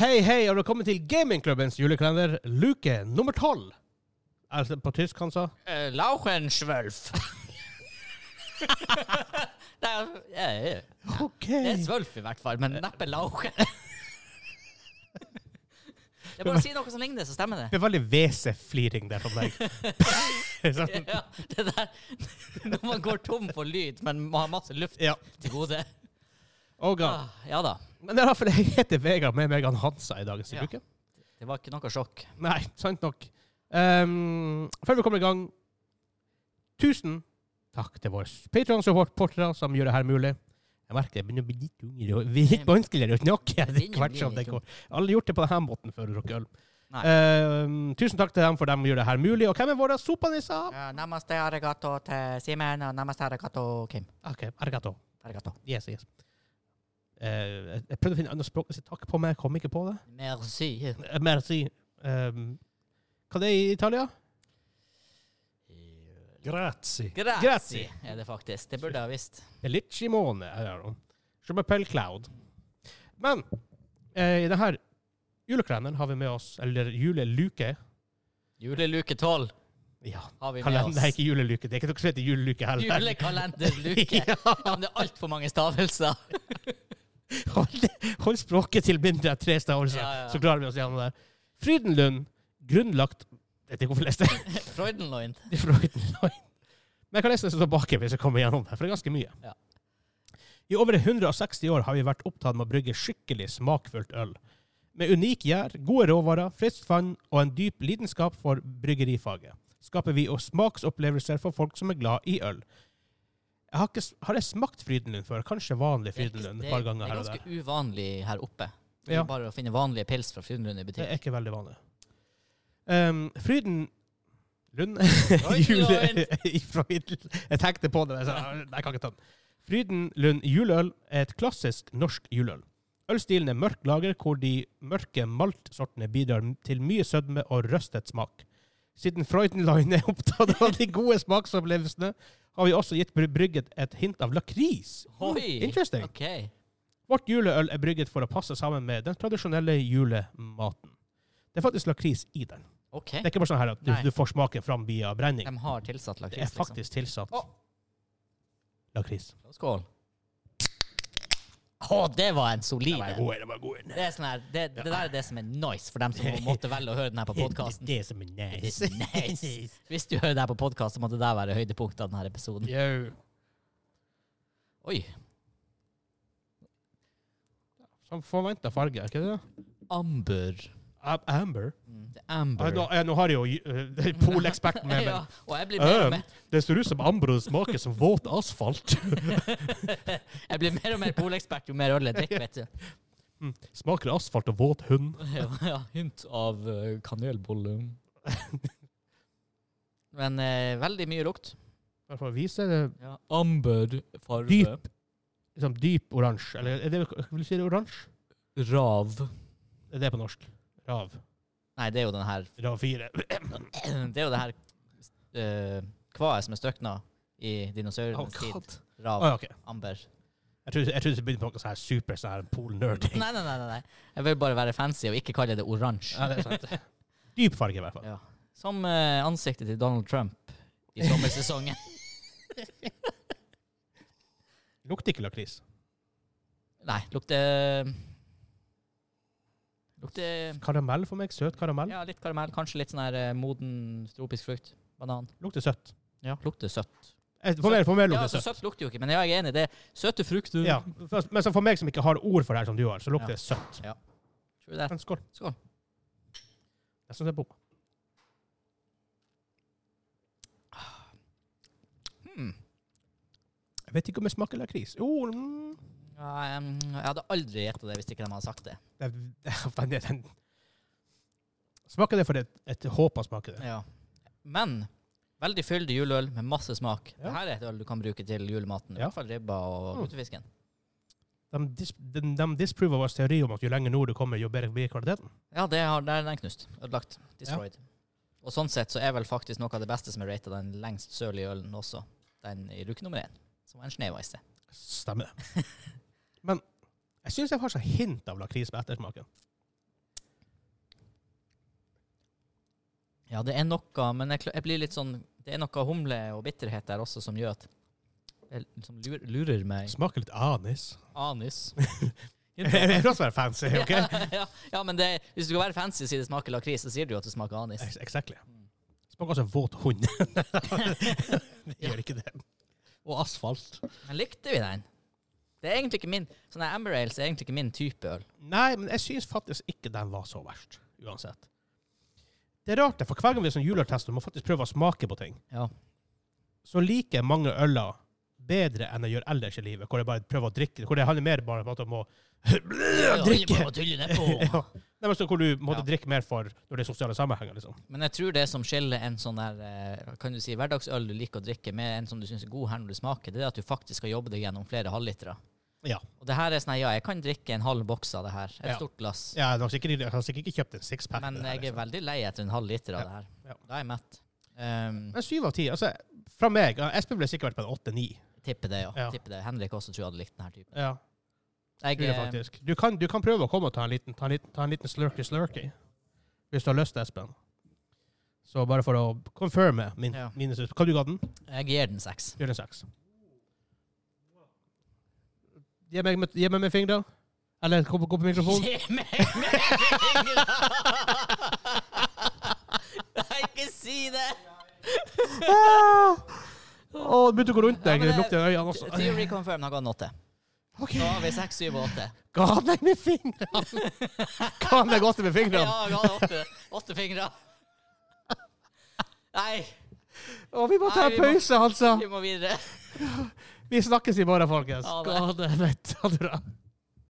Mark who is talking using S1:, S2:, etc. S1: Hei, hei, og velkommen til gamingklubbens julekalender, luke nummer tolv. Altså på tysk, han sa.
S2: Uh, Lauchenschwölf. det, er, ja, ja, ja.
S1: OK.
S2: det er svølf i hvert fall, men neppe lauchen. Jeg bare sier noe som ligner, så stemmer det.
S1: Det er veldig hvesefliring der fra deg. sånn.
S2: Ja, det der, Når man går tom for lyd, men man har masse luft
S1: Ja.
S2: til gode.
S1: Oh god.
S2: Ah, ja da.
S1: Men det er derfor jeg heter Vegard med meg han Hansa i dagens
S2: Ja.
S1: luke.
S2: Det var ikke noe sjokk.
S1: Nei, sant nok. Ehm, før vi kommer i gang, tusen takk til våre Patreon-supportere som gjør det her mulig. Jeg merker det begynner å bli litt tungere og litt liksom. vanskeligere å snakke etter
S2: Begynner å
S1: hvert
S2: bli
S1: som det
S2: litt
S1: går. Alle har gjort det på denne måten før, dere øl.
S2: Nei.
S1: Ehm, tusen takk til dem for dem gjør det her mulig. Og hvem er våre sopanisser?
S2: Ja, namaste arigato til Simen, og namaste arigato Kim.
S1: Ok, arigato.
S2: Arigato.
S1: Yes, yes. Eh, jeg- jeg prøvde å finne et annet språk å si takk på, men jeg kom ikke på det.
S2: Merci.
S1: Eh, Merci. Um, hva det er i Italia? Grazie.
S2: Grazie er det faktisk. Det burde jeg ha visst.
S1: Elicimone er det. Chumapel Cloud. Men eh, i denne julekalenderen har vi med oss, eller juleluke
S2: Juleluke 12
S1: Ja,
S2: har vi med
S1: kalender, det er
S2: oss.
S1: ikke juleluke. Det er ikke noe som heter juleluke heller.
S2: Julekalenderluke.
S1: ja.
S2: Ja, men det er altfor mange stavelser.
S1: Hold, hold språket til mindre enn tre stavelser,
S2: Ja, ja.
S1: så klarer vi oss gjennom det. Frydenlund, grunnlagt Jeg vet ikke hvorfor jeg leste det.
S2: Freudenloin.
S1: Det er Freudenlund. Men jeg kan lese det som står bak hvis jeg kommer gjennom det, for det er ganske mye.
S2: Ja.
S1: I over 160 år har vi vært opptatt med å brygge skikkelig smakfullt øl. Med unik gjær, gode råvarer, friskt vann og en dyp lidenskap for bryggerifaget skaper vi også smaksopplevelser for folk som er glad i øl. Jeg har, ikke, s- har jeg smakt Frydenlund før? Kanskje vanlig Frydenlund et par ganger
S2: det er
S1: her og der.
S2: ganske uvanlig her oppe. Det
S1: Ja.
S2: er bare å finne vanlige pils fra Frydenlund i
S1: Det
S2: butikk.
S1: er ikke veldig vanlig. Um, Fryden Lund
S2: Oi,
S1: jule, fra Hiddel. Jeg tenkte på det, men jeg sa, "Ah, "Nei, jeg kan ikke ta den. Frydenlund juleøl er et klassisk norsk juleøl. Ølstilen er mørk lager, hvor de mørke maltsortene bidrar til mye sødme og røstet smak. Siden Freudenline er opptatt av de gode smaksopplevelsene, har vi også gitt bry- brygget et hint av lakris. Mm,
S2: Oi.
S1: Interesting.
S2: OK.
S1: Vårt juleøl er brygget for å passe sammen med den tradisjonelle julematen. Det er faktisk lakris i den.
S2: ok.
S1: Det er ikke bare sånn her at du,
S2: Nei.
S1: du får smaken fram via brenning.
S2: De har tilsatt lakris.
S1: Det er
S2: liksom.
S1: faktisk tilsatt
S2: Å.
S1: lakris.
S2: Skål. Å, det var en
S1: Det
S2: solid
S1: var
S2: en.
S1: god, det var god.
S2: Det, er sånn her, det, det der er det som er nice for dem som måtte velge å høre den her på podkasten.
S1: Det som er nice.
S2: Nice. Hvis du hører det her på podkast, så måtte det der være høydepunktet av denne episoden.
S1: Yo.
S2: Oi.
S1: Som forventa farge, er ikke det?
S2: Amber.
S1: Am- Amber?
S2: Det er
S1: Ja,
S2: Amber.
S1: nå, ja, nå har jeg jo uh, poleksperten med
S2: ja,
S1: meg.
S2: og jeg blir mer og
S1: Øhm.
S2: mer,
S1: Det ser ut som amber og smaker som våt asfalt.
S2: jeg blir mer, og mer polekspert jo mer øl jeg drikker, vet du.
S1: Mm. Smaker asfalt og våt hund.
S2: Ja, ja, hint av eh, kanelbolle. Men eh, veldig mye lukt.
S1: Bare for å vise det.
S2: Ja, amber farve.
S1: Dyp. Liksom dyp oransje. Eller er det, vil du si det er oransje?
S2: Rav.
S1: Det er på norsk. Rav.
S2: Nei, det er jo den her
S1: Rav 4.
S2: Det er jo det her eh, kvaet som er støkna i dinosaurenes tid. Rav.
S1: Ah, ok.
S2: Amber.
S1: Jeg trodde, jeg trodde det begynte på noe sånn her super sånn her pol-nerding.
S2: Nei, nei, nei, nei, nei. Jeg vil bare være fancy og ikke kalle det oransje.
S1: Ja, det er sant. Dyp farge, i hvert fall.
S2: Ja. Som eh, ansiktet til Donald Trump i sommersesongen.
S1: Lukter ikke lakris.
S2: Nei, lukter Lukter
S1: Karamell for meg. Søt karamell.
S2: ja, litt karamell, kanskje litt sånn her eh, moden tropisk frukt. Banan.
S1: Lukter søtt.
S2: Ja. Lukter søtt.
S1: Eh, For meg, for meg
S2: Ja,
S1: lukter
S2: altså,
S1: det søtt.
S2: søtt lukter jo ikke, men jeg er enig. Det er søte frukter.
S1: Ja, for- men så for meg som ikke har ord for det her som du har, så lukter
S2: Ja.
S1: det søtt.
S2: Tror du det?
S1: Men skål.
S2: Skål.
S1: Jeg syns det er bom.
S2: Hmm.
S1: Jeg vet ikke om det smaker lakris. Jo, mm.
S2: Ja, em, jeg hadde aldri gjetta det hvis ikke de hadde sagt det.
S1: det, det, den, den. Smaker det for et, et håp av smaker det?
S2: Ja. Men veldig fyldig juleøl med masse smak.
S1: Ja.
S2: Dette er et øl du kan bruke til julematen. I
S1: Ja.
S2: hvert fall ribba og
S1: Mm.
S2: lutefisken.
S1: De, dis, de, de disprover vår teori om at jo lenger nord du kommer, jo bedre blir kvaliteten.
S2: Ja, det har, der er den knust. Ødelagt. Destroyed. Og sånn sett så er vel faktisk noe av det beste som er rata den lengst sørlige ølen også. Den i luke nummer én. Som var en sneveise.
S1: Stemmer. Men jeg syns jeg har så hint av lakris med ettersmaken.
S2: Ja, det er noe, men jeg, kl- jeg blir litt sånn Det er noe humle og bitterhet der også som gjør at jeg liksom lurer, lurer meg
S1: Smaker litt anis.
S2: anis.
S1: Jeg vil også være fancy, OK?
S2: ja, ja, men det, hvis du skal være fancy og si det smaker lakris, så sier du jo at det smaker anis.
S1: Ex- Exactly.
S2: Mm.
S1: Smaker også våt hund. det gjør ikke det. Og asfalt.
S2: Men likte vi den? Det er egentlig ikke min Sånn her Amber Ales er egentlig ikke min type øl.
S1: Nei, men jeg syns faktisk ikke den var så verst, uansett. Det er rart, det, for hver gang vi er sånn juletester, må faktisk prøve å smake på ting.
S2: Ja.
S1: Så liker jeg mange øler bedre enn jeg gjør ellers i livet, hvor jeg bare prøver å drikke det. Hvor det handler mer bare om at jeg må drikke. ja. Nei, men så hvor du måtte
S2: Ja.
S1: drikke mer for når det er sosiale sammenhenger, liksom.
S2: Men jeg tror det som skiller en sånn der eh, kan du si, hverdagsøl du liker å drikke, med en som du syns er god her når du smaker, det er at du faktisk skal jobbe deg gjennom flere halvlitere.
S1: Ja.
S2: Og det her er sånn her, ja, jeg kan drikke en halv boks av det her. Et
S1: Ja.
S2: stort glass.
S1: ja jeg, har sikkert, jeg har sikkert ikke kjøpt en sixpack.
S2: Men
S1: med det her,
S2: jeg er
S1: liksom.
S2: veldig lei etter en halv liter av det her.
S1: Ja.
S2: Da er jeg mett. Um,
S1: Men syv av ti, altså, fra meg ja, Espen ville sikkert vært på en åtte-ni.
S2: tipper det, ja.
S1: Ja.
S2: Tipper det. Henrik også tror jeg hadde likt den her typen.
S1: Ja,
S2: Jeg,
S1: tror jeg
S2: eh,
S1: faktisk. Du kan, du kan prøve å komme og ta en liten, ta en liten, ta en liten slurky-slurky, hvis du har lyst, Espen. Så bare for å confirme min,
S2: Ja.
S1: mine sus- Kan du ga den?
S2: jeg gir den seks.
S1: Gjør en seks. Gi meg, med- gi meg med fingre. Eller gå på, gå på mikrofonen.
S2: Gi meg fingeren! Nei, ikke si det!
S1: Ah! Å, det begynte å gå rundt
S2: Ja,
S1: deg.
S2: men
S1: Det
S2: det-
S1: lukter i øynene også.
S2: Theory confirm har gått en åtte.
S1: Ok.
S2: Da har vi seks, syv og åtte.
S1: Ga han deg med fingrene? Ga han deg godt med
S2: Ja,
S1: fingrene?
S2: jeg hadde åtte, åtte fingre. Nei,
S1: Å, vi må ta
S2: Nei,
S1: en
S2: vi må-
S1: pause, altså.
S2: vi må videre.
S1: Vi snakkes i morgen, folkens.
S2: Ha det.
S1: Ga det. Nei, ta det bra.